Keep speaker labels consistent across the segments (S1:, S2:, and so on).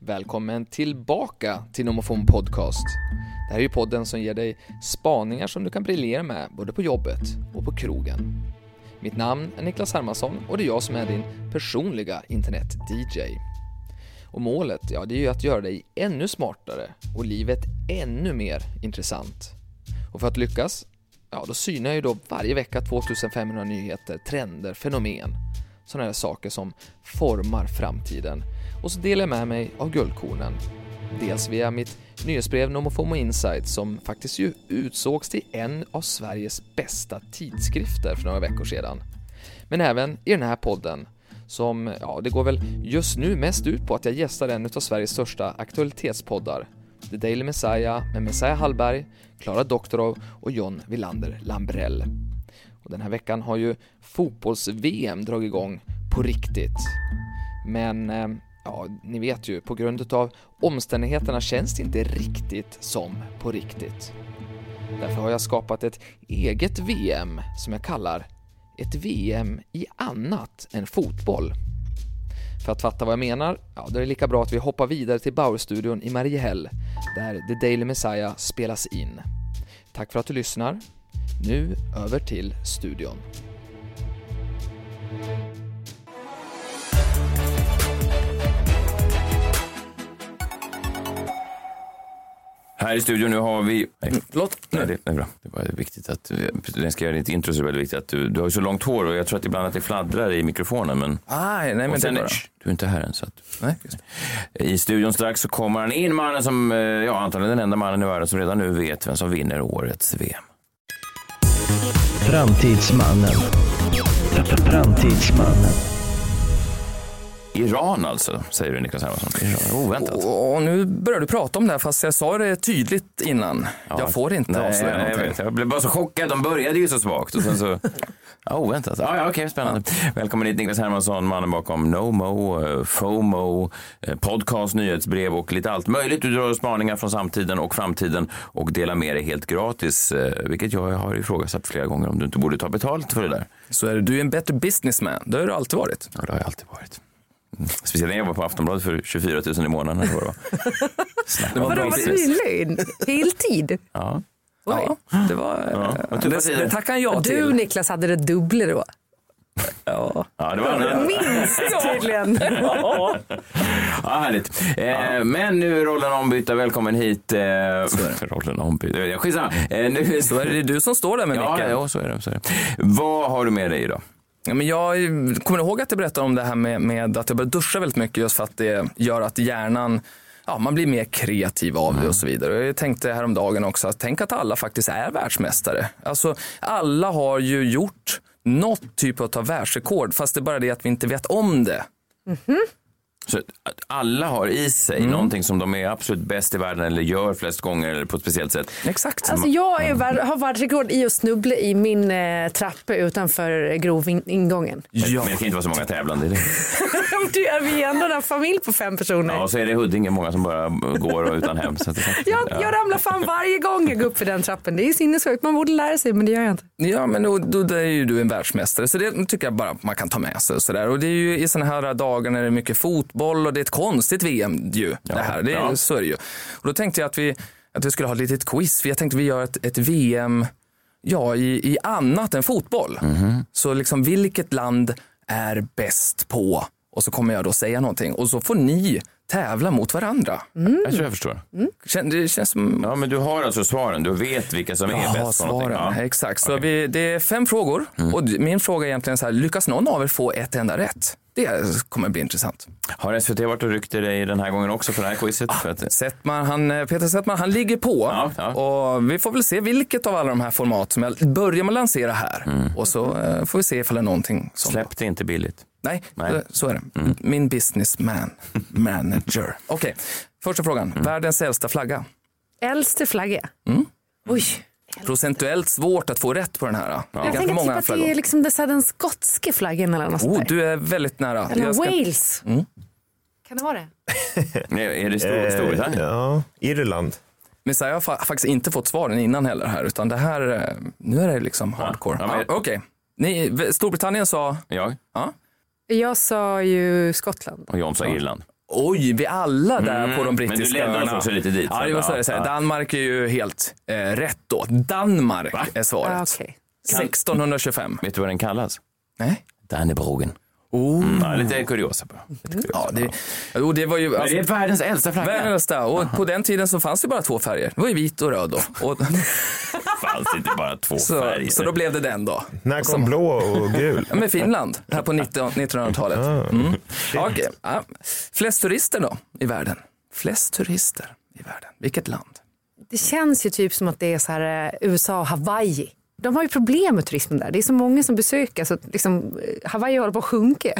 S1: Välkommen tillbaka till Nomofon Podcast. Det här är ju podden som ger dig spaningar som du kan briljera med både på jobbet och på krogen. Mitt namn är Niklas Hermansson och det är jag som är din personliga internet-DJ. Och målet, ja det är ju att göra dig ännu smartare och livet ännu mer intressant. Och för att lyckas, ja då synar jag ju då varje vecka 2500 nyheter, trender, fenomen. Sådana här saker som formar framtiden. Och så delar jag med mig av guldkornen. Dels via mitt nyhetsbrev Nomofomo Insight som faktiskt ju utsågs till en av Sveriges bästa tidskrifter för några veckor sedan. Men även i den här podden som, ja, det går väl just nu mest ut på att jag gästar en av Sveriges största aktualitetspoddar. The Daily Messiah med Messiah Hallberg, Klara Doktorov och John Wilander Lambrell. Och den här veckan har ju fotbolls-VM dragit igång på riktigt. Men, eh, ja, ni vet ju, på grund av omständigheterna känns det inte riktigt som på riktigt. Därför har jag skapat ett eget VM som jag kallar ett VM i annat än fotboll. För att fatta vad jag menar, ja, då är det lika bra att vi hoppar vidare till Bauer-studion i Mariehäll, där The Daily Messiah spelas in. Tack för att du lyssnar. Nu över till studion.
S2: Här i studion nu har vi... Nej,
S1: Förlåt?
S2: nej det det är bra. Mm. Det var viktigt att... När jag ska göra ditt intro så är det väldigt viktigt att du... Du har ju så långt hår och jag tror att ibland att det fladdrar i mikrofonen men...
S3: Ah, nej, men
S2: Och sen,
S3: det är bra.
S2: Shh, du är inte här än så att...
S3: Nej.
S2: I studion strax så kommer han in, mannen som... eh, Ja, antagligen den enda mannen i världen som redan nu vet vem som vinner årets VM.
S4: Framtidsmannen. Framtidsmannen.
S2: Iran alltså, säger du Niklas Hermansson. Iran. Oväntat.
S3: Och, och nu börjar du prata om det här fast jag sa det tydligt innan.
S2: Ja,
S3: jag får inte
S2: nej,
S3: avslöja
S2: nej, jag,
S3: någonting.
S2: vet. jag blev bara så chockad. De började ju så svagt. Och sen så... Ja, oväntat. Ja, ja, okej, spännande. Välkommen hit Niklas Hermansson, mannen bakom NoMo, eh, FOMO, eh, podcast, nyhetsbrev och lite allt möjligt. Du drar spaningar från samtiden och framtiden och delar med dig helt gratis, eh, vilket jag har ifrågasatt flera gånger om du inte borde ta betalt för det där.
S3: Så är det, du är en bättre businessman. Det har du alltid varit.
S2: Ja, det har jag alltid varit. Mm. Speciellt när jag var på Aftonbladet för 24 000 i månaden. Eller vad det var. Snacka om
S3: Vadå,
S5: Vadå, var
S2: business.
S5: du i lön? Heltid?
S2: Ja.
S3: Ja, det var...
S2: vad tuffa
S3: Det, var
S2: tider.
S3: det tackar jag
S5: Du
S3: till.
S5: Niklas hade det dubbla då.
S3: Ja.
S2: ja, det var annorlunda.
S5: Minst tydligen.
S2: Ja, härligt. Eh, Men nu är rollen ombytta. Välkommen hit. Eh, rollen ombytta. Eh, Skitsamma. Eh, nu...
S3: Så är det du som står där med
S2: Ja,
S3: micken.
S2: ja, så är det. Så är det. Vad har du med dig idag?
S3: Ja, men jag kommer ihåg att jag berättade om det här med, med att jag börjar duscha väldigt mycket just för att det gör att hjärnan Ja, man blir mer kreativ av
S2: Mm.
S3: det och så vidare. Och Jag tänkte häromdagen också att tänk att alla faktiskt är världsmästare. Alltså, alla har ju gjort något typ av världsrekord fast det är bara det att vi inte vet om det.
S2: Så att alla har i sig någonting som de är absolut bäst i världen eller gör flest gånger eller på ett speciellt sätt.
S3: Exakt.
S5: Alltså jag är, vär- har världsrekord i att snubbla i min eh, trappa utanför grovingången.
S3: ja.
S2: Men det kan inte vara så många tävlande i det.
S5: du är vi är ändå en familj på fem personer.
S2: Ja, och så är det i Huddinge många som bara går och utan hem. Så att det
S5: Jag, jag ramlar fan varje gång jag går upp för den trappen. Det är sinnessjukt. Man borde lära sig men det gör jag inte.
S3: Ja, men då, då, då är ju du en världsmästare, så det tycker jag bara man kan ta med sig. Och, så där. och det är ju i sådana här dagar när det är mycket fotboll och det är ett konstigt VM ju. det här. Det,
S2: ja.
S3: är Så är det ju. Och då tänkte jag att vi, att vi skulle ha ett litet quiz, för jag tänkte vi gör ett, ett VM ja, i, i annat än fotboll.
S2: Mhm.
S3: Så liksom vilket land är bäst på? Och så kommer jag då säga någonting och så får ni tävla mot varandra.
S2: Jag tror jag förstår.
S3: Kän, det känns som...
S2: Ja, men du har alltså svaren. Du vet vilka som är bäst på någonting.
S3: svaren.
S2: Ja. Mm.
S3: Exakt. Så vi, det är fem frågor. Och d- min fråga är egentligen så här, lyckas någon av er få ett enda rätt? Det kommer bli intressant.
S2: Har SVT varit och ryckt i dig den här gången också för det här quizet? för att...
S3: Settman, han, eh, Peter Settman, han ligger på.
S2: Ja, ja.
S3: Och vi får väl se vilket av alla de här format som jag börjar med att lansera här. Och så eh, får vi se ifall det är någonting som...
S2: Mm. Släpp det inte billigt.
S3: Nej,
S2: Nej. Mm.
S3: eh, så är det. Min businessman, manager. Okej, första frågan.
S2: Mm.
S3: Världens äldsta flagga.
S5: Äldste flagga.
S3: Mm.
S5: Oj.
S3: Procentuellt svårt att få rätt på den här. Det är
S5: Jag tänker typ att det är liksom det, så här, den skotska flaggan eller något
S3: Oh,
S5: sånt där.
S3: du är väldigt nära.
S5: Eller
S3: Jag ska-
S5: Wales.
S4: Mm.
S5: Kan det vara det?
S2: Nej, är det stor,
S3: Eh,
S2: Storbritannien?
S4: Eh, ja, Irland.
S3: Men så här, jag har fa- faktiskt inte fått svaren innan heller här, utan det här, eh, nu är det liksom hardcore.
S2: ja, men-
S3: Ja, Okej, Ni- v- Storbritannien sa,
S2: Jag
S5: Jag sa ju Skottland.
S2: och John sa Irland.
S3: Oj, vi alla där
S2: Mm,
S3: på de
S2: men du
S3: brittiska
S2: ledde oss
S3: öarna.
S2: också lite dit,
S3: Ja,
S2: så
S3: det var så
S2: att,
S3: här, så här,
S2: ja.
S3: Danmark är ju helt eh, rätt då. Danmark är svaret.
S5: Ah, okej.
S3: 1625.
S2: Vet du vad den kallas?
S3: Nej.
S2: Dannebrogen.
S3: Oh.
S2: Ja, lite kuriosa bara. Lite kuriosa.
S3: Mm. Ja, det, jo, det var ju...
S2: Mm. Men
S3: Alltså,
S2: det är världens äldsta flagga.
S3: Världens äldsta. Och på den tiden så fanns det bara två färger. Det var ju vit och röd då. Och,
S2: fanns inte bara två
S3: så,
S2: färger.
S3: så då blev det den då.
S4: När kom blå och gul?
S3: Ja, Med Finland, här på 19 1900-talet.
S2: Ah.
S3: Mm. Ja, okej. ja. Flest turister då i världen? Flest turister i världen. Vilket land?
S5: Det känns ju typ som att det är så här, eh, USA och Hawaii. De har ju problem med turismen där. Det är så många som besöker så att liksom, eh, Hawaii håller på att sjunka.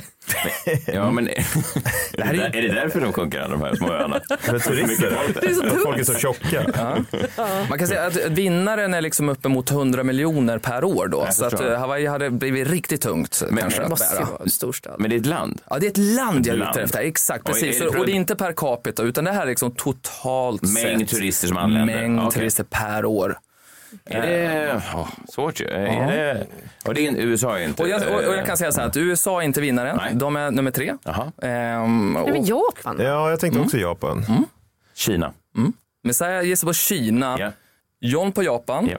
S2: Ja, men... är, det där, är det därför de sjunker, alla de här små öarna?
S4: För turister?
S5: Det är så tungt.
S4: Folk är så tjocka.
S3: Man kan säga att vinnaren är liksom uppemot 100 miljoner per år då. Så att
S2: förstår.
S3: eh, Hawaii hade blivit riktigt tungt kanske
S5: Det
S3: att
S5: måste ju
S3: bära.
S5: vara en storstad.
S2: Men det är ett land.
S3: Ja, det är ett land jag
S2: Ett
S3: är
S2: land.
S3: ute efter.
S2: Och
S3: Exakt,
S2: är
S3: precis.
S2: det
S3: Och, och det är
S2: problem-
S3: inte per capita, utan det här är liksom totalt
S2: Mängd
S3: sett.
S2: turister som anländer.
S3: Mängd
S2: Okej.
S3: turister per år.
S2: Är det... Eh, ja, svårt ju. Är det... Och det är en... USA är inte...
S3: Och jag, och, och jag kan säga så här att USA är inte vinnaren.
S2: Mm. Nej.
S3: De är nummer tre.
S2: Jaha.
S3: Ehm,
S5: Nej, men
S3: och,
S5: Japan.
S4: Ja, jag tänkte också Japan.
S2: Kina.
S3: Messiah gissar på Kina,
S2: Ja.
S3: John på Japan.
S2: Ja.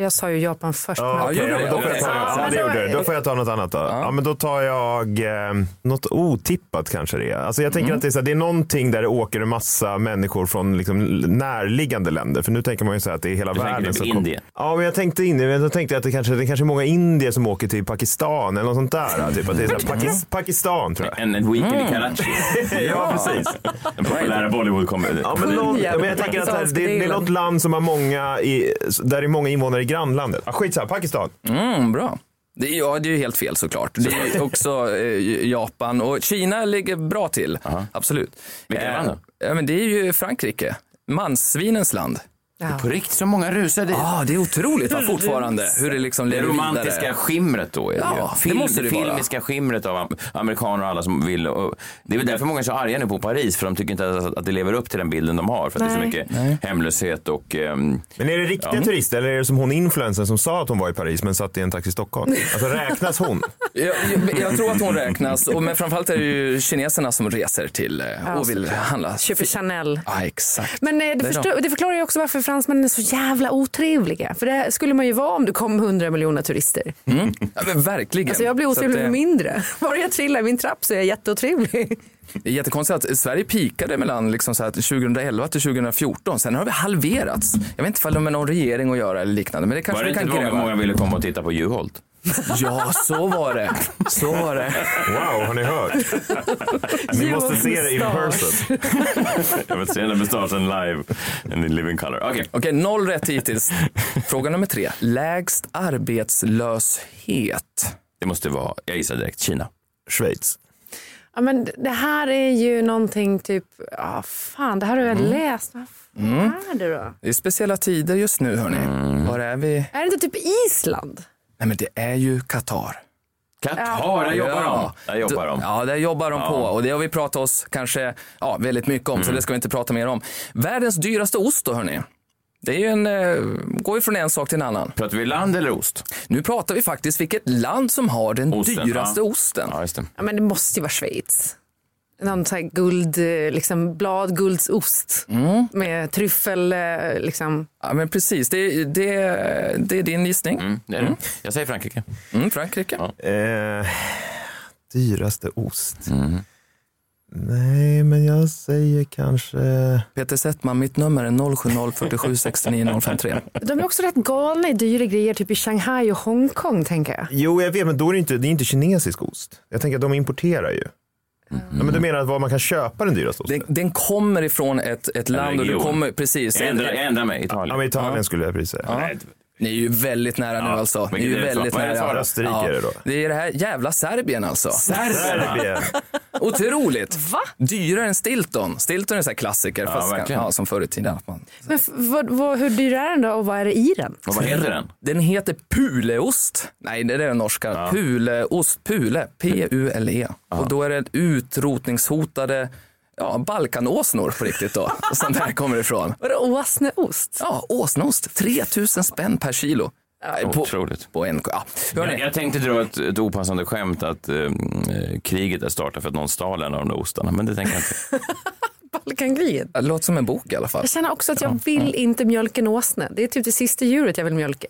S5: Jag sa ju Japan först.
S4: Ja,
S5: men-
S4: okej,
S3: gjorde
S4: ja, men då
S3: det?
S4: får jag
S5: Okej.
S4: ta, ja, det gjorde du. Då får jag ta något annat då. Ja, men då tar jag eh, något otippat kanske det är. Alltså jag tänker att det är, så här, det är någonting där det åker en massa människor från liksom, närliggande länder. För nu tänker man ju så här att det är hela
S2: Du tänker
S4: världen
S2: typ
S4: kom-
S2: Indien.
S4: Ja, men jag tänkte Indien. Men då tänkte jag att det kanske, det kanske är många indier som åker till Pakistan eller något sånt där. Typ. Att det är så här, Pakis, Pakistan tror jag.
S2: En, en weekend
S3: Mm.
S2: i Karachi.
S4: Ja, precis.
S2: Den populära Bollywood-komedin.
S4: Ja, men, någon,
S5: Jävla
S4: men jag tänker att så här, det, det är
S5: pakistanska
S4: något land som har många i, där det är många invånare i grannlandet. Ah, skitsamma, Pakistan.
S3: Mm, bra. Det, är- ja, det är ju helt fel såklart. Det är också eh, Japan och Kina ligger bra till. Absolut. Eh,
S2: Vilka är man
S3: ja, men Det är ju Frankrike. Manssvinens land.
S5: Ja.
S2: På riktigt, så många rusar dit.
S3: Ah, det är otroligt va, fortfarande hur det liksom
S2: Det
S3: lever
S2: romantiska
S3: vidare.
S2: skimret då är det
S3: Ja,
S2: ju.
S3: det måste det vara.
S2: filmiska skimret av am- amerikaner och alla som vill. Och det är väl därför många är så arga nu på Paris för de tycker inte att, att det lever upp till den bilden de har. För att det är så
S5: Nej.
S2: mycket hemlöshet och ehm,
S4: Men är det riktiga turister eller är det som hon influensen som sa att hon var i Paris men satt i en taxi i Stockholm? Alltså räknas hon?
S3: Jag, jag, jag tror att hon räknas, och, men framförallt är det ju kineserna som reser till eh, och vill handla.
S5: Köper Chanel.
S3: Ja, exakt.
S5: Men eh, det,
S3: är
S5: förstår, det förklarar ju också varför fransmännen är så jävla otrevliga. För det skulle man ju vara om det kom 100 miljoner turister.
S3: Ja, men verkligen.
S5: Alltså jag blir
S3: Så
S5: otrevlig
S3: att,
S5: för
S3: eh,
S5: mindre. Var jag trillar i min trapp så är jag jätteotrevlig.
S3: Det är jättekonstigt att Sverige pikade mellan liksom så här 2011 till 2014. Sen har vi halverats. Jag vet inte ifall de har någon regering att göra eller liknande. Men det
S2: Var det
S3: kanske vi
S2: inte
S3: kan
S2: många,
S3: gräva.
S2: många ville komma och titta på Juholt?
S3: Ja, så var det. Så var det.
S4: Wow, har ni hört? Ni måste se det in person.
S2: Jag vill se den mustaschen live in living color. Okej,
S3: Okej, noll rätt hittills. Fråga nummer tre. Lägst arbetslöshet.
S2: det måste vara, jag gissar direkt, Kina.
S4: Schweiz.
S5: Ja, men det här är ju någonting typ, ja fan det här har jag läst. Vad fan är det då?
S3: Det är speciella tider just nu, hörni. Var är vi?
S5: Är det inte typ Island?
S3: Nej, men det är ju Qatar.
S2: Qatar, där jobbar
S3: Ja.
S2: de. Där jobbar de.
S3: Ja, det jobbar de på och det har vi pratat oss kanske ja, väldigt mycket om
S2: Mm.
S3: så det ska vi inte prata mer om. Världens dyraste ost då hörni. Det är ju en, eh, går ju från en sak till en annan.
S2: Pratar vi land eller ost?
S3: Nu pratar vi faktiskt vilket land som har den
S2: Osten,
S3: dyraste
S2: ja.
S3: osten.
S2: Ja, just det.
S5: Ja men det måste ju vara Schweiz. Någon sån här guld, eh, liksom blad, guldsost med tryffel, eh, liksom.
S3: Ja, men precis, det, det, det är din gissning. Mm.
S2: Mm, det är det. Jag säger Frankrike.
S3: Frankrike.
S4: Eh, dyraste ost. Nej, men jag säger kanske...
S3: Peter Settman, mitt nummer är 0704769053.
S5: De är också rätt galna i dyra grejer, typ i Shanghai och Hongkong tänker jag.
S4: Jo, jag vet, men då är det inte, det är inte kinesisk ost. Jag tänker att de importerar ju. Ja, men du menar att vad man kan köpa den dyraste osten?
S3: Den, den kommer ifrån ett, ett land och du
S2: region.
S3: kommer, precis.
S2: Jag ändrar, jag ändrar mig, Italien.
S4: Ja, men Italien skulle jag precis säga.
S2: Nej,
S3: Ni är ju väldigt nära nu alltså. Ni är
S2: vilket
S3: ju
S2: är det
S3: väldigt
S2: svar? Vad är det
S3: nära.
S2: svar?
S4: Österrike är det då.
S3: Det är det här jävla Serbien alltså.
S4: Serbien.
S3: Otroligt! Va? Dyrare än Stilton. Stilton är en sån här klassiker fast kan,
S2: verkligen.
S3: ja, som förr i tiden. att Man...
S5: Men f- vad, vad, hur dyr är den då och vad är det i den?
S2: Och vad heter den?
S3: Den heter puleost. Nej, det är den norska. Puleost, pule, P-U-L-E. E. Och då är det utrotningshotade ja, balkanåsnor på riktigt då, som det här kommer ifrån.
S5: Var det åsneost?
S3: Ja, åsnost. 3000 spänn per kilo. Nej,
S2: Otroligt.
S3: På en, ja.
S2: Jag,
S3: Hörni,
S2: jag tänkte dra ett, ett opassande skämt att eh, eh, kriget är startat för att någon stal en av de där ostarna, men det tänker jag inte.
S5: Balkankriget.
S3: det låter som en bok i alla fall.
S5: Jag känner också att jag vill inte mjölka en åsna. Det är typ det sista djuret jag vill mjölka.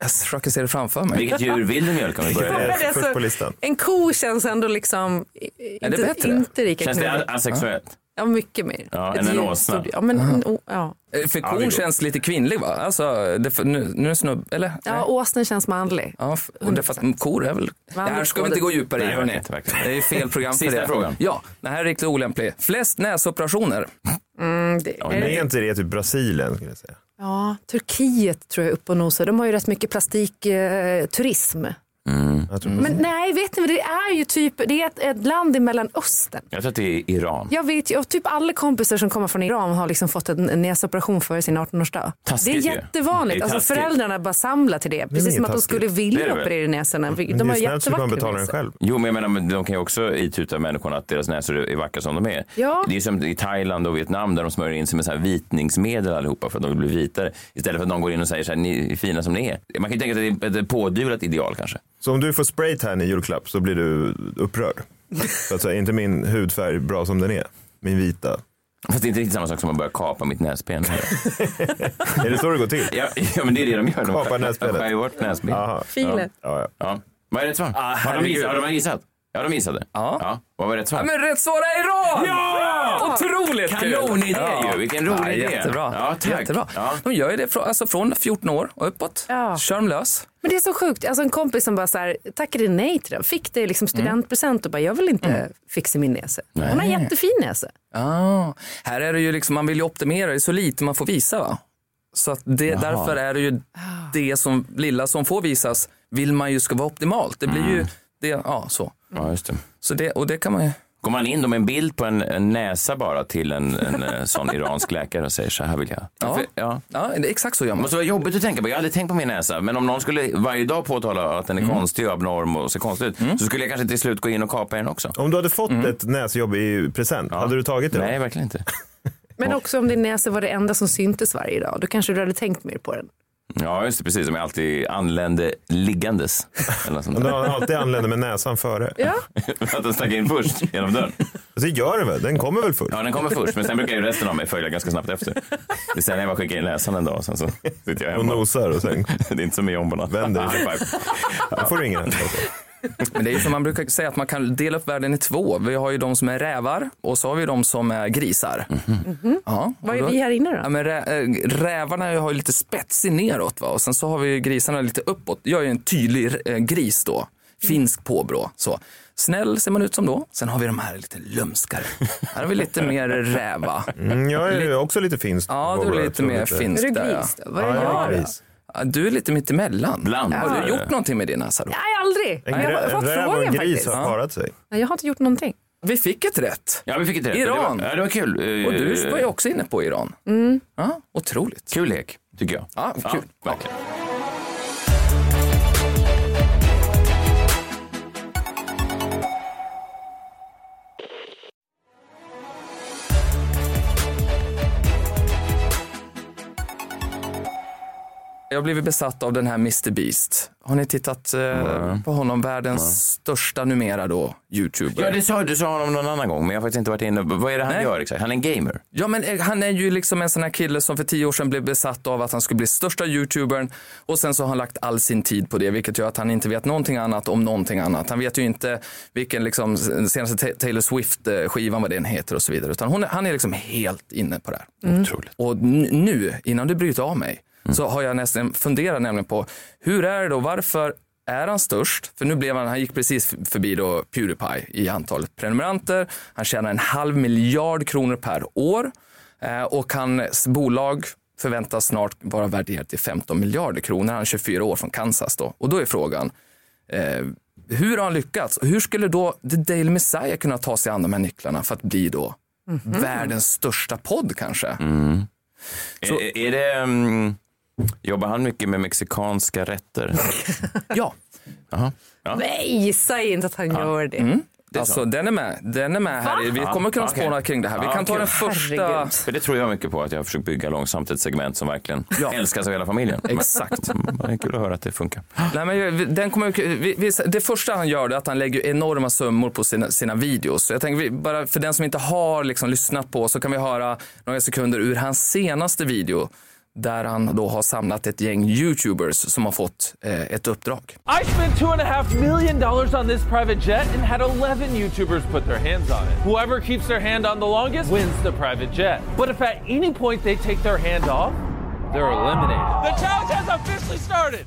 S3: Jag försöker se det framför mig.
S2: Vilket djur vill du mjölka om vi
S4: Det
S2: börjar?
S5: Men
S4: är
S5: alltså-
S4: först på listan.
S5: En ko känns ändå liksom i- i-
S3: Är det
S5: inte,
S3: bättre?
S5: inte lika
S2: Känns det
S5: knulligt.
S2: a- asexuellt?
S5: Ja, mycket mer.
S2: Ja,
S5: Ett
S2: än en
S5: djur,
S2: åsna.
S5: stort djur. Ja, men, en å- ja.
S3: Eh, För
S4: det
S3: kon
S4: går.
S3: känns lite kvinnlig va? Alltså, det, för- nu, nu är det snubb, eller?
S5: ja, åsnan känns manlig.
S3: Ja, f- och det är för att kor är väl... Det här ska vi inte gå djupare i
S2: Nej,
S3: hörni.
S2: verkligen, verkligen.
S3: Det är fel program för
S2: Sista
S3: det.
S2: frågan.
S3: Ja, det här är riktigt olämplig. Flest näsoperationer.
S5: Mm, det,
S2: Ja,
S5: är
S4: Men
S5: det,
S4: är inte det typ Brasilien? Skulle jag säga.
S5: ja, Turkiet tror jag är uppe och nosar. De har ju rätt mycket plastikturism.
S4: Jag tror
S2: Mm.
S5: Men nej, vet ni vad? Det är ju typ det är ett, ett land i Mellanöstern.
S2: Jag tror att det är Iran.
S5: Jag vet ju, och typ alla kompisar som kommer från Iran har liksom fått en en näsoperation före sin 18-årsdag. Det är
S2: Taskigt ju.
S5: jättevanligt.
S2: Det är
S5: Alltså
S2: taskigt.
S5: föräldrarna bara samlar till det. Precis
S4: inget
S5: som att de
S4: taskigt.
S5: skulle
S2: Det är
S5: vilja
S2: det väl? Mm.
S5: operera i näsorna.
S4: Men
S5: De
S4: det
S5: har
S4: är snällt så kan man
S5: jättevackra
S4: betala den
S5: näsor.
S4: själv.
S2: Jo, men jag menar, men de kan ju också ituta människorna att deras näsor är vackra som de är.
S5: Ja.
S2: Det är som i Thailand och Vietnam där de smörjer in sig med så här vitningsmedel allihopa för att de vill bli vitare. Istället för att någon går in och säger så här, ni är fina som ni är. Man kan ju tänka sig att det är ett pådyvlat ideal kanske.
S4: Så om du får spraytan i julklapp så blir du upprörd? För att säga, är inte min hudfärg bra som den är? Min vita.
S2: Fast det är inte riktigt samma sak som att börja kapa mitt näsben.
S4: Är det så det går till?
S2: ja, ja, men det är det de gör. De
S4: Kapar
S2: skär-
S4: näsbenet.
S2: skär ju bort näsben.
S4: Aha.
S5: Filen.
S4: Ja, ja.
S2: Ja. Vad är rätt svar? har, de
S3: Ah, herregud.
S2: gissat? har de gissat? Ja, de gissade.
S3: Ja.
S2: Vad var rätt svar?
S3: Men rätt svar är Iran! Ja! Otroligt kul!
S2: Kanonidé ju! Vilken rolig
S3: Ja,
S2: idé.
S3: jättebra.
S2: Ja, tack.
S3: jättebra.
S2: Ja.
S3: De gör ju det från, alltså, från 14 år och uppåt.
S5: Ja.
S3: Kör dem lös.
S5: Men det är så sjukt. Alltså en kompis som bara så här, tackade nej till den. Fick det liksom studentpresent och bara, jag vill inte fixa min näsa. Hon har en jättefin näsa.
S3: Ja. Ah. Här är det ju liksom, man vill ju optimera, det är så lite man får visa va? Så att det, därför är det ju det som, lilla som får visas vill man ju ska vara optimalt. Det blir
S2: Mm.
S3: ju, det, ja så.
S2: Ja, just det.
S3: så det, och det kan man ju
S2: Går man in då med en bild på en, en näsa bara till en, en eh, sån iransk läkare och säger så här vill jag.
S3: Ja.
S2: För- ja.
S3: Ja, det är exakt så gör
S2: Det
S3: man.
S2: måste vara jobbigt att tänka på. Jag hade tänkt på min näsa. Men om någon skulle varje dag påtala att den är
S4: Mm.
S2: konstig och abnorm och ser konstig ut så skulle jag kanske till slut gå in och kapa den också.
S4: Om du hade fått
S5: Mm.
S4: ett näsjobb i present, hade du tagit det?
S2: Nej, verkligen inte.
S5: Men också om din näsa var det enda som syntes varje dag. Då kanske du hade tänkt mer på den.
S2: Ja, just det. Precis. Som jag alltid anlände liggandes. Eller något sånt
S4: Om du
S2: där.
S4: alltid anländer med näsan före.
S5: Ja.
S2: att den stack in först genom dörren.
S4: Så gör det väl? Den kommer väl först?
S2: Ja, den kommer först. Men sen brukar ju resten av mig följa ganska snabbt efter. Det är sen jag bara skickar in näsan en dag och sen så sitter jag
S4: Och
S2: hemma.
S4: nosar och sen
S2: Det är inte som i jombona.
S4: Vänder. då får du ingen.
S3: Men det är ju som man brukar säga att man kan dela upp världen i två. Vi har ju de som är rävar och så har vi de som är grisar.
S2: Mhm.
S3: Ja,
S5: Vad
S3: och
S5: är
S3: då-
S5: vi här inne då?
S3: Ja, men rä, äh, rävarna har ju lite spetsig neråt va? och sen så har vi ju grisarna lite uppåt. Jag är ju en tydlig eh, gris då, finsk påbrå. Så. Snäll ser man ut som då. Sen har vi de här lite lömskare. Här har vi lite mer räva.
S4: Mm, jag är ju också lite finsk.
S3: Ja, du är lite mer finsk
S5: Är du
S3: där.
S5: gris då? Vad är
S4: Ja, jag
S5: jag
S4: är
S5: då?
S4: gris.
S3: Ja. Du är lite mittemellan.
S2: Bland.
S3: Har du gjort någonting med din näsa då?
S5: Nej, aldrig.
S4: En,
S5: jag har
S4: grä, en
S5: fått
S4: räv och
S5: frågan
S4: en gris
S5: faktiskt.
S4: har parat sig.
S5: Nej, jag har inte gjort någonting.
S3: Vi fick ett rätt.
S2: Ja, vi fick ett rätt.
S3: Iran.
S2: Det var, ja, det var kul. Eh,
S3: Och du var ju också inne på Iran. Ja, otroligt.
S2: Kul lek, tycker jag.
S3: Ja, kul.
S2: verkligen.
S3: Jag har blivit besatt av den här Mr Beast. Har ni tittat eh, på honom? Världens största numera då, youtuber.
S2: Ja, det sa, du sa honom någon annan gång, men jag har faktiskt inte varit inne. Vad är det han gör exakt? Han är en gamer.
S3: Ja, men eh, han är ju liksom en sån här kille som för tio år sedan blev besatt av att han skulle bli största youtubern och sen så har han lagt all sin tid på det, vilket gör att han inte vet någonting annat om någonting annat. Han vet ju inte vilken liksom s- senaste Ta- Taylor Swift-skivan, vad den heter och så vidare, utan hon, är- han är liksom helt inne på det här. Otroligt. Och n- nu, innan du bryter av mig, så har jag nästan funderat nämligen på hur är det då, varför är han störst? För nu blev han, han gick precis f- förbi då Pewdiepie i antalet prenumeranter. Han tjänar en halv miljard kronor per år eh, och hans bolag förväntas snart vara värderat till 15 miljarder kronor. Han är 24 år från Kansas då. Och då är frågan, eh, hur har han lyckats? Hur skulle då The Daily Messiah kunna ta sig an de här nycklarna för att bli då världens största podd kanske? Så-
S2: Eh, Är, är det, mm, jobbar han mycket med mexikanska rätter?
S3: Ja.
S5: Nej, säg inte att han gör det.
S2: Det är
S3: alltså,
S2: så.
S3: den är med. Den är med här. Vi kommer kunna
S2: Ja, okej.
S3: spåna kring det här. Vi
S2: Ja,
S3: kan ta
S2: kul.
S3: den första...
S5: Herregud.
S2: För det tror jag mycket på, att jag har försökt bygga långsamt ett segment som verkligen älskas av hela familjen.
S3: Exakt.
S2: Mm, Det är kul att höra att det funkar.
S3: Nej, men jag- den kommer, ju- vi, vi, det första han gör är att han lägger enorma summor på sina, sina videos. Så Jag tänker, vi, bara för den som inte har liksom lyssnat på så kan vi höra några sekunder ur hans senaste video där han då har samlat ett gäng YouTubers som har fått eh, ett uppdrag.
S6: I spent two and a half million dollars on this private jet and had 11 YouTubers put their hands on it. Whoever keeps their hand on the longest wins the private jet. But if at any point they take their hand off, they're eliminated. The challenge has officially started.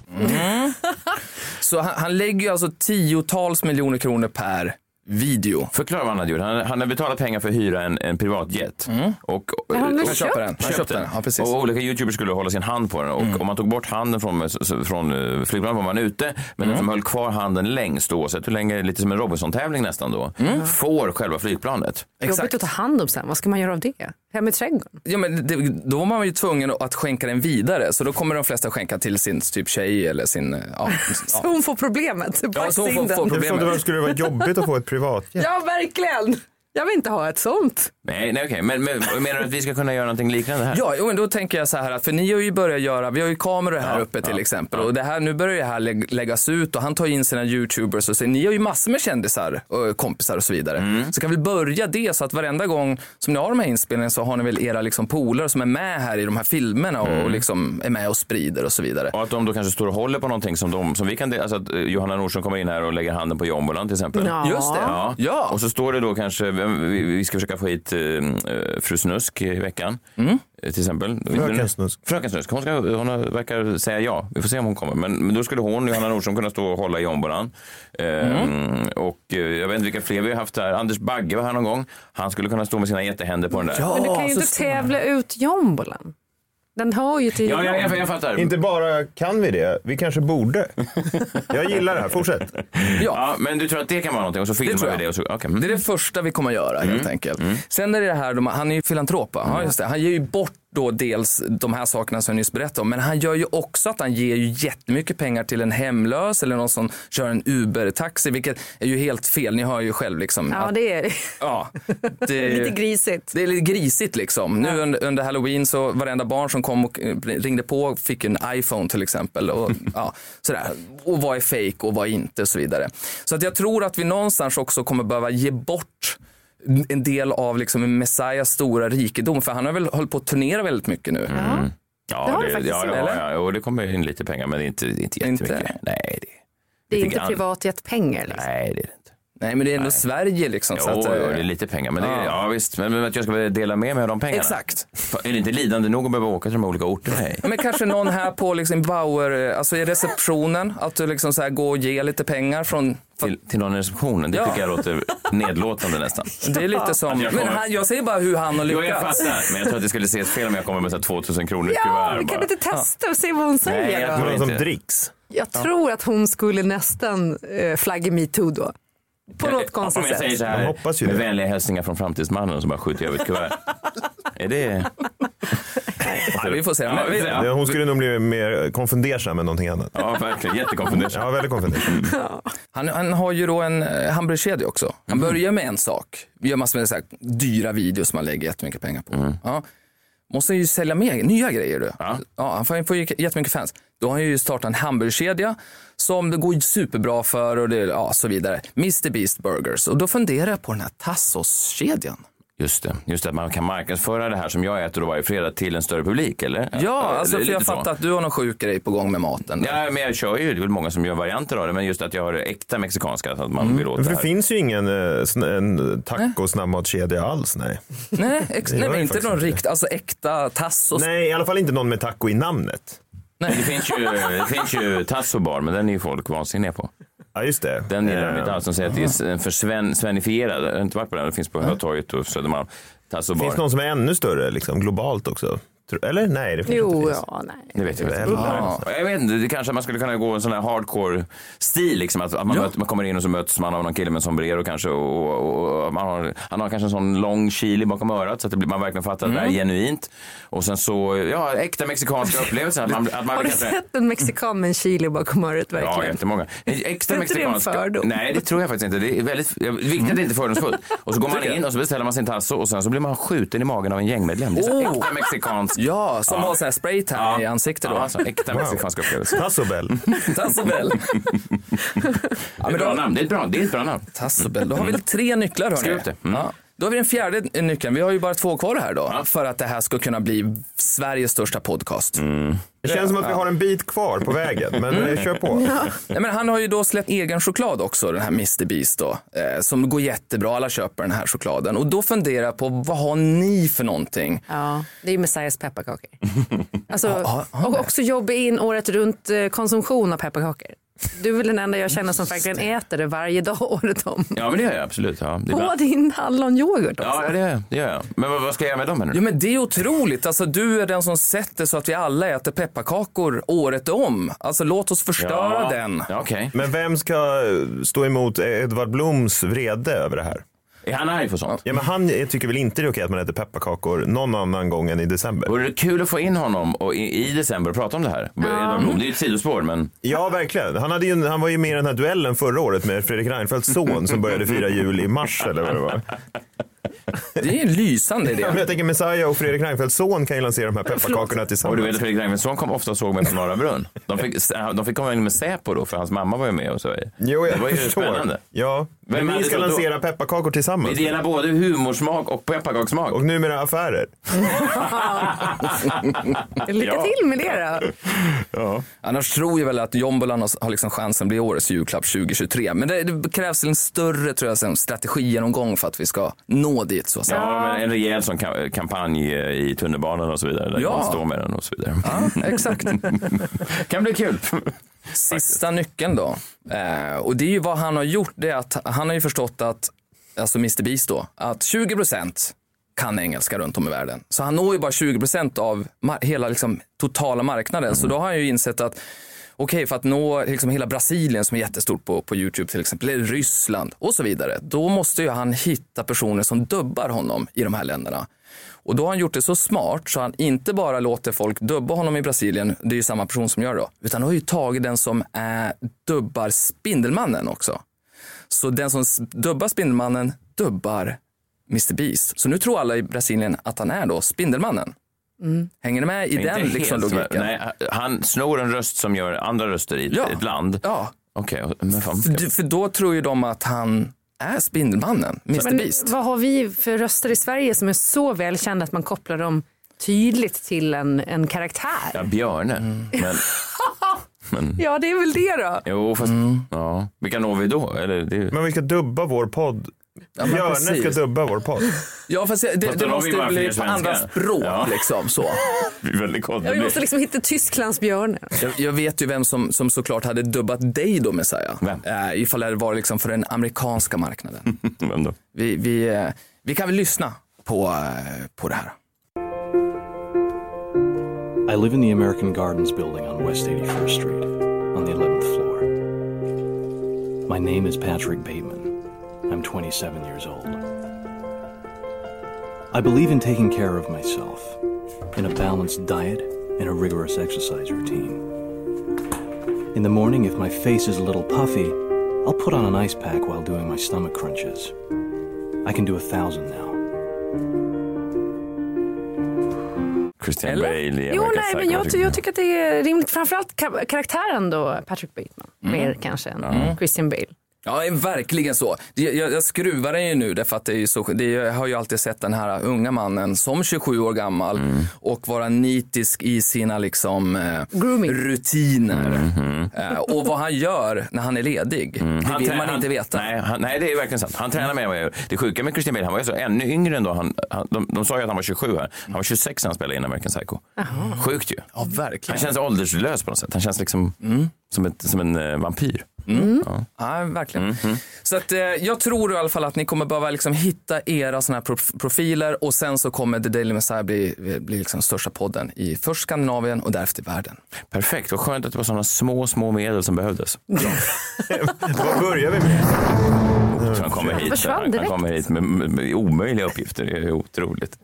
S3: Så han, han lägger ju alltså tiotals miljoner kronor per video.
S2: Förklara vad han hade gjort. Han, han hade betalat pengar för att hyra en, en privatjet. Och,
S5: han väl
S2: och-
S5: köpt?
S3: den. Han köpte den. Ja, precis.
S2: Och olika youtubers skulle hålla sin hand på den och om man tog bort handen från, så- från eh, flygplanet var man ute men den som höll kvar handen längst oavsett hur länge, lite som en Robinson-tävling nästan då, får själva flygplanet.
S5: Jobbigt att ta hand om sen. Vad ska man göra av det? Hem i trädgården?
S3: Ja, men det, då var man ju tvungen att skänka den vidare så då kommer de flesta skänka till sin typ tjej eller sin... eh, Ja, ja.
S5: Hon får problemet.
S3: Ja, så hon får, får
S4: Jag förstår inte
S3: problemet.
S4: varför det skulle vara jobbigt att få ett privat.
S5: Ja, verkligen. Jag vill inte ha ett sånt.
S2: Nej, nej okej, men, men menar du att vi ska kunna göra någonting liknande här?
S3: Ja, jo, men då tänker jag så här, att- för ni har ju börjat göra, vi har ju kameror här uppe till exempel och det här, nu börjar det här lä- läggas ut och han tar in sina youtubers och säger, ni har ju massor med kändisar och eh, kompisar och så vidare. Så kan vi börja det så att varenda gång som ni har de här inspelningarna så har ni väl era liksom polare som är med här i de här filmerna och, liksom är med och sprider och så vidare.
S2: Och att de då kanske står och håller på någonting som, de, som vi kan dela. Alltså att eh, Johanna Nordström kommer in här och lägger handen på jombolan till exempel.
S5: Ja.
S3: Just det, ja.
S2: Ja. Och så står det då kanske, vem- vi, vi ska försöka få hit eh, eh, fru Snusk i veckan. eh, Till exempel.
S4: Fröken Snusk.
S2: Fröken Snusk. Hon, ska, hon har- verkar säga ja. Vi får se om hon kommer. Men, men då skulle hon, Johanna Nordström, kunna stå och hålla i jombolan. Ehm, Och eh, jag vet inte vilka fler vi har haft här. Anders Bagge var här någon gång. Han skulle kunna stå med sina jättehänder på den där.
S5: Men du kan
S3: Ja,
S5: ju
S3: så
S5: inte
S3: står
S5: tävla ut jombolan. Den hör ju till
S2: Ja,
S5: jombolan.
S2: jag, jag, jag fattar.
S4: Inte bara kan vi det, vi kanske borde. Jag gillar det här, fortsätt.
S2: Ja, men du tror att det kan vara någonting och så filmar
S3: tror
S2: vi
S3: jag.
S2: det och så, okej. Mm.
S3: Det är det första vi kommer att göra helt enkelt. Sen är det det här, de- han är ju filantrop va? ja, just det. Han ger ju bort då dels de här sakerna som jag nyss berättade om, men han gör ju också att han ger ju jättemycket pengar till en hemlös eller någon som kör en Uber-taxi, vilket är ju helt fel. Ni hör ju själv liksom.
S5: Ja,
S3: att,
S5: det är
S3: ja, det,
S5: lite grisigt.
S3: det är lite grisigt liksom. Nu under, under halloween så varenda barn som kom och eh, ringde på fick en iPhone till exempel. Och, ja, sådär. och vad är fake och vad är inte och så vidare. Så att jag tror att vi någonstans också kommer behöva ge bort en del av liksom Messias stora rikedom. För han har väl hållit på att turnera väldigt mycket
S2: Mm.
S3: nu. Mm.
S5: Det
S2: Ja,
S5: har det faktiskt
S2: ja,
S5: gjort.
S2: ja, ja, och det kommer in lite pengar men det är inte, det är inte jättemycket.
S3: Inte?
S2: Nej, det,
S5: Det är
S2: lite
S5: inte
S2: grann.
S5: privatjetpengar. Liksom.
S2: nej, det är det inte.
S3: Nej men det är ändå Sverige liksom.
S2: Jo,
S3: så att, eh,
S2: jo, det är lite pengar. Men det är, ja. visst, men, men att jag ska väl dela med mig av de pengarna.
S3: Exakt.
S2: Fan, Är det inte lidande nog att behöva åka till de olika orterna? Nej.
S3: Men kanske någon här på liksom Bauer, eh, alltså i receptionen, att du liksom så här går och ger lite pengar från för att
S2: Till, till någon i receptionen, det
S3: Ja.
S2: tycker jag låter nedlåtande nästan.
S3: det är lite som,
S2: jag
S3: men
S2: kommer-
S3: han, jag säger bara hur han har
S2: Jo, jag
S3: lyckats.
S2: fattar. Men jag tror att det skulle ses fel om jag kommer med så här 2000 kronor i
S5: Ja,
S2: kuvert
S5: vi kan
S2: bara.
S5: inte testa och se vad hon säger
S2: jag
S5: då?
S2: tror-
S4: Någon som
S2: inte.
S4: dricks.
S5: Jag tror att hon skulle nästan eh, flagga metoo då. På något konstigt
S2: Om jag säger
S5: sätt.
S2: så här,
S4: Jag hoppas ju
S2: med
S4: det.
S2: vänliga hälsningar från framtidsmannen som bara skjuter över ett kuvert. är det...
S3: Ja, vi får se.
S2: Ja,
S3: Men,
S2: vi
S3: vi,
S2: får se.
S4: Hon skulle nog bli mer konfundersam än någonting annat.
S2: Ja, Mm. verkligen. Jättekonfunderad.
S4: Ja, väldigt konfundersam.
S3: han, han har ju då en eh, hamburgerkedja också. Han
S2: Mm.
S3: börjar med en sak. Vi gör massor med så här dyra videos som han lägger jättemycket pengar på.
S2: Mm.
S3: Ja. Måste ju sälja mer, nya grejer du. Ja. han får, han får ju jättemycket fans. Då har han ju startat en hamburgerkedja som det går ju superbra för och det, ja, så vidare. Mr Beast Burgers. Och då funderar jag på den här Tassos-kedjan.
S2: Just det, just det, att man kan marknadsföra det här som jag äter då varje fredag till en större publik, eller?
S3: Ja, alltså,
S2: Eller
S3: för jag
S2: lite så.
S3: fattar att du har någon sjuk grej på gång med maten.
S2: Ja, men jag kör ju, det är väl många som gör varianter av det, men just att jag har det äkta mexikanska, så att
S3: Mm.
S2: man vill åt
S4: Men
S2: det
S4: för det
S2: här.
S4: finns ju ingen eh, sn- en tacosnabbmatskedja alls. Nej.
S3: Nej, ex-
S4: Det
S3: nej
S4: gör
S3: men
S4: jag
S3: inte
S4: faktiskt
S3: någon
S4: inte.
S3: rikt, alltså äkta Tassos.
S4: nej, i alla fall inte någon med taco i namnet.
S2: Det finns ju, det finns ju Tasso bar, men den är ju folk vansinniga på.
S4: Ja, just det.
S2: Den gillar
S4: Eh,
S2: de inte alls. De säger att det är en för sven, svenifierad. Jag har inte varit på den, den finns på Hötorget och Södermalm. Tasso bar.
S4: Finns någon som är ännu större, liksom, globalt också? Tror- Eller? Nej, det kanske inte
S5: Jo,
S4: finns.
S5: ja, nej.
S2: Det vet jag
S4: Det
S2: inte.
S4: är
S2: Ja. Jag vet inte, det kanske man skulle kunna gå en sån här hardcore-stil. Liksom, att att man, möter, man kommer in och så möts man av någon kille med sombrero kanske. Och, och, och man har, han har kanske en sån lång chili bakom örat så att det blir, man verkligen fattar att det
S5: Mm.
S2: här är genuint. Och sen så, ja, äkta mexikanska upplevelser. Att man, att man
S5: Har du
S2: kanske-
S5: sett en mexikan med en chili bakom örat
S2: Ja,
S5: verkligen?
S2: jättemånga. Extra
S5: Är inte det en
S2: mexikanska.
S5: fördom?
S2: Nej, det tror jag faktiskt inte. Det är väldigt det är viktigt att det inte är fördomsfullt. Och så går man in och så beställer man sin tasso och sen så blir man skjuten i magen av en gängmedlem. Det är så här,
S3: Oh!
S2: Äkta mexikansk.
S3: Ja, som har sån här spraytan i ansiktet då.
S2: Ja, alltså, äkta mexikansk upplevelse.
S4: Tassobel.
S3: Tassobel.
S2: Det är ett bra namn. Det är ett bra, det är ett bra namn.
S3: Tassobel. Då har vi tre nycklar hörni.
S2: Skriv upp det. Mm.
S3: Ja. Då har vi den fjärde nyckeln. Vi har ju bara två kvar här då. För att det här ska kunna bli Sveriges största podcast.
S2: Mm.
S4: Det känns som att vi har en bit kvar på vägen, men eh, kör på.
S3: Nej, men han har ju då släppt egen choklad också, den här Mr Beast då. Eh, som går jättebra, alla köper den här chokladen. Och då funderar jag på, vad har ni för någonting?
S5: Ja, det är ju Messiahs pepparkakor. Alltså, och också jobba in året runt eh, konsumtion av pepparkakor. Du är väl den enda jag känner som verkligen äter det varje dag året om.
S2: Ja, men det gör jag absolut. Ja, det är bra.
S5: På din hallonyoghurt också.
S2: Ja, det gör jag. Det gör jag. Men vad, vad ska jag göra med dem menar
S3: Ja
S2: du?
S3: men det är otroligt, alltså du är den som sätter så att vi alla äter pepparkakor året om. Alltså låt oss förstöra den.
S2: Ja, okej.
S4: Men vem ska eh, stå emot Edvard Bloms vrede över det här?
S2: Är han arg för sånt?
S4: Ja, men han tycker väl inte det är okej att man äter pepparkakor någon annan gång än i december?
S2: Vore det kul att få in honom och i, i december och prata om det här? Det är ju ett sidospår, men...
S4: Ja, verkligen. Han, hade ju, han var ju med i den här duellen förra året med Fredrik Reinfeldts son som började fira jul i mars eller vad det var.
S3: Det är en lysande idé.
S4: Men jag tänker Messiah och Fredrik Reinfeldts son kan ju lansera de här pepparkakorna
S2: Och du
S4: tillsammans.
S2: vet att Fredrik Reinfeldtsson kom ofta och såg mig på Norra Brunn. De fick, de fick komma in med Säpo då, för hans mamma var ju med och så.
S4: Jo, jag
S2: det var ju
S4: förstår.
S2: spännande.
S4: Ja,
S2: Vem
S4: men
S2: hade
S4: ni ska
S2: då-
S4: lansera pepparkakor
S2: Vi
S4: tillsammans.
S2: delar både humorsmak och pepparkakssmak.
S4: Och numera affärer.
S5: Lycka
S2: Ja.
S5: till med det då.
S3: Annars tror jag väl att Jombolan har- har liksom chansen att bli årets julklapp 2023. Men det, det krävs en större tror jag, sen, strategigenomgång för att vi ska nå dit så att säga.
S2: Ja, men en rejäl sån ka- kampanj eh, i tunnelbanan och så vidare. Där
S3: Ja.
S2: man står med den och så vidare.
S3: Ja, exakt.
S2: kan bli kul.
S3: Sista nyckeln då. Eh, och det är ju vad han har gjort. Det är att han har ju förstått att, alltså Mr Beast då, att 20 procent kan engelska runt om i världen. Så han når ju bara 20 procent av mar- hela liksom, totala marknaden. Så då har han ju insett att Okej, för att nå liksom hela Brasilien som är jättestort på, på Youtube till exempel, eller Ryssland och så vidare. Då måste ju han hitta personer som dubbar honom i de här länderna. Och då har han gjort det så smart så han inte bara låter folk dubba honom i Brasilien, det är ju samma person som gör det då, utan har ju tagit den som äh, dubbar Spindelmannen också. Så den som s- dubbar Spindelmannen dubbar Mr Beast. Så nu tror alla i Brasilien att han är då Spindelmannen. Hänger ni med i den
S2: Mm. Inte
S3: liksom
S2: helt,
S3: logiken?
S2: Nej, han snor en röst som gör andra röster i
S3: Ja.
S2: ett land.
S3: Ja,
S2: Okej, men fan.
S3: För, för då tror ju de att han är Spindelmannen, Mr
S5: Men
S3: Beast.
S5: vad har vi för röster i Sverige som är så välkända att man kopplar dem tydligt till en, en karaktär?
S2: Ja, Björne.
S5: Mm.
S2: Men,
S5: Ja, det är väl det då.
S2: jo, fast,
S5: Mm.
S2: ja. Vilka når vi då? Eller, det,
S4: Men vi ska dubba vår podd.
S3: men
S4: Björne
S3: precis.
S4: ska dubba vår podd.
S3: Ja, fast det, det,
S2: då
S3: det
S2: har vi
S3: måste
S2: bara
S3: bli
S2: fler
S3: på andra
S2: svenskar.
S3: språk
S2: Ja.
S3: liksom. Så.
S2: det är väldigt konstigt.
S5: Ja, vi måste liksom hitta Tysklands björne.
S3: Jag, jag vet ju vem som, som såklart hade dubbat dig då Messiah.
S2: Vem?
S3: Eh, ifall det var liksom för den amerikanska marknaden.
S2: Vem då?
S3: vi, vi, eh, vi kan väl lyssna på, eh, på det här.
S7: I live in the American Gardens building on West 81st Street, on the 11th floor. My name is Patrick Bateman. I'm 27 years old. I believe in taking care of myself, in a balanced diet, and a rigorous exercise routine. In the morning, if my face is a little puffy, I'll put on an ice pack while doing my stomach crunches. I can do a thousand now.
S2: Christian
S3: Eller?
S2: Bale i
S5: Jo,
S2: American
S5: nej, men
S2: Psycho,
S5: jag,
S2: tycker
S5: ty- jag tycker att det är rimligt. Framförallt ka- karaktären då, Patrick Bateman. Mer kanske än Christian Bale.
S3: Ja, eh, verkligen så. Det- Jag, jag skruvar den ju nu därför att det är ju så, det, jag har ju alltid sett den här unga mannen som 27 år gammal
S2: Mm.
S3: och vara nitisk i sina liksom eh,
S5: Grooming.
S3: rutiner. Eh, och vad han gör när han är ledig, det vill
S2: Mhm. Mm. trä-
S3: man inte veta.
S2: Nej, han, nej, det är verkligen sant. Han tränar mer än vad jag gör. Det sjuka med Christian Bale, han var ju så ännu yngre ändå. Han, han, de, de sa ju att han var 27 här. Han var 26 när han spelade in American Psycho. Sjukt ju.
S3: Ja, verkligen.
S5: Mm.
S2: Han känns ålderslös på något sätt. Han känns liksom som, ett, som en eh, vampyr.
S3: Ja, verkligen.
S2: Mhm.
S3: Så att, eh, jag tror i alla fall att ni kommer behöva liksom hitta era såna här prof- profiler och sen så kommer The Daily Messiah bli, bli liksom största podden i först Skandinavien och därefter i världen.
S2: Perfekt, vad skönt att det var sådana små, små medel som behövdes.
S4: Vad börjar vi med?
S2: Han kommer hit,
S5: försvann
S2: han
S5: direkt.
S2: kommer hit med, med, med omöjliga uppgifter, det är otroligt.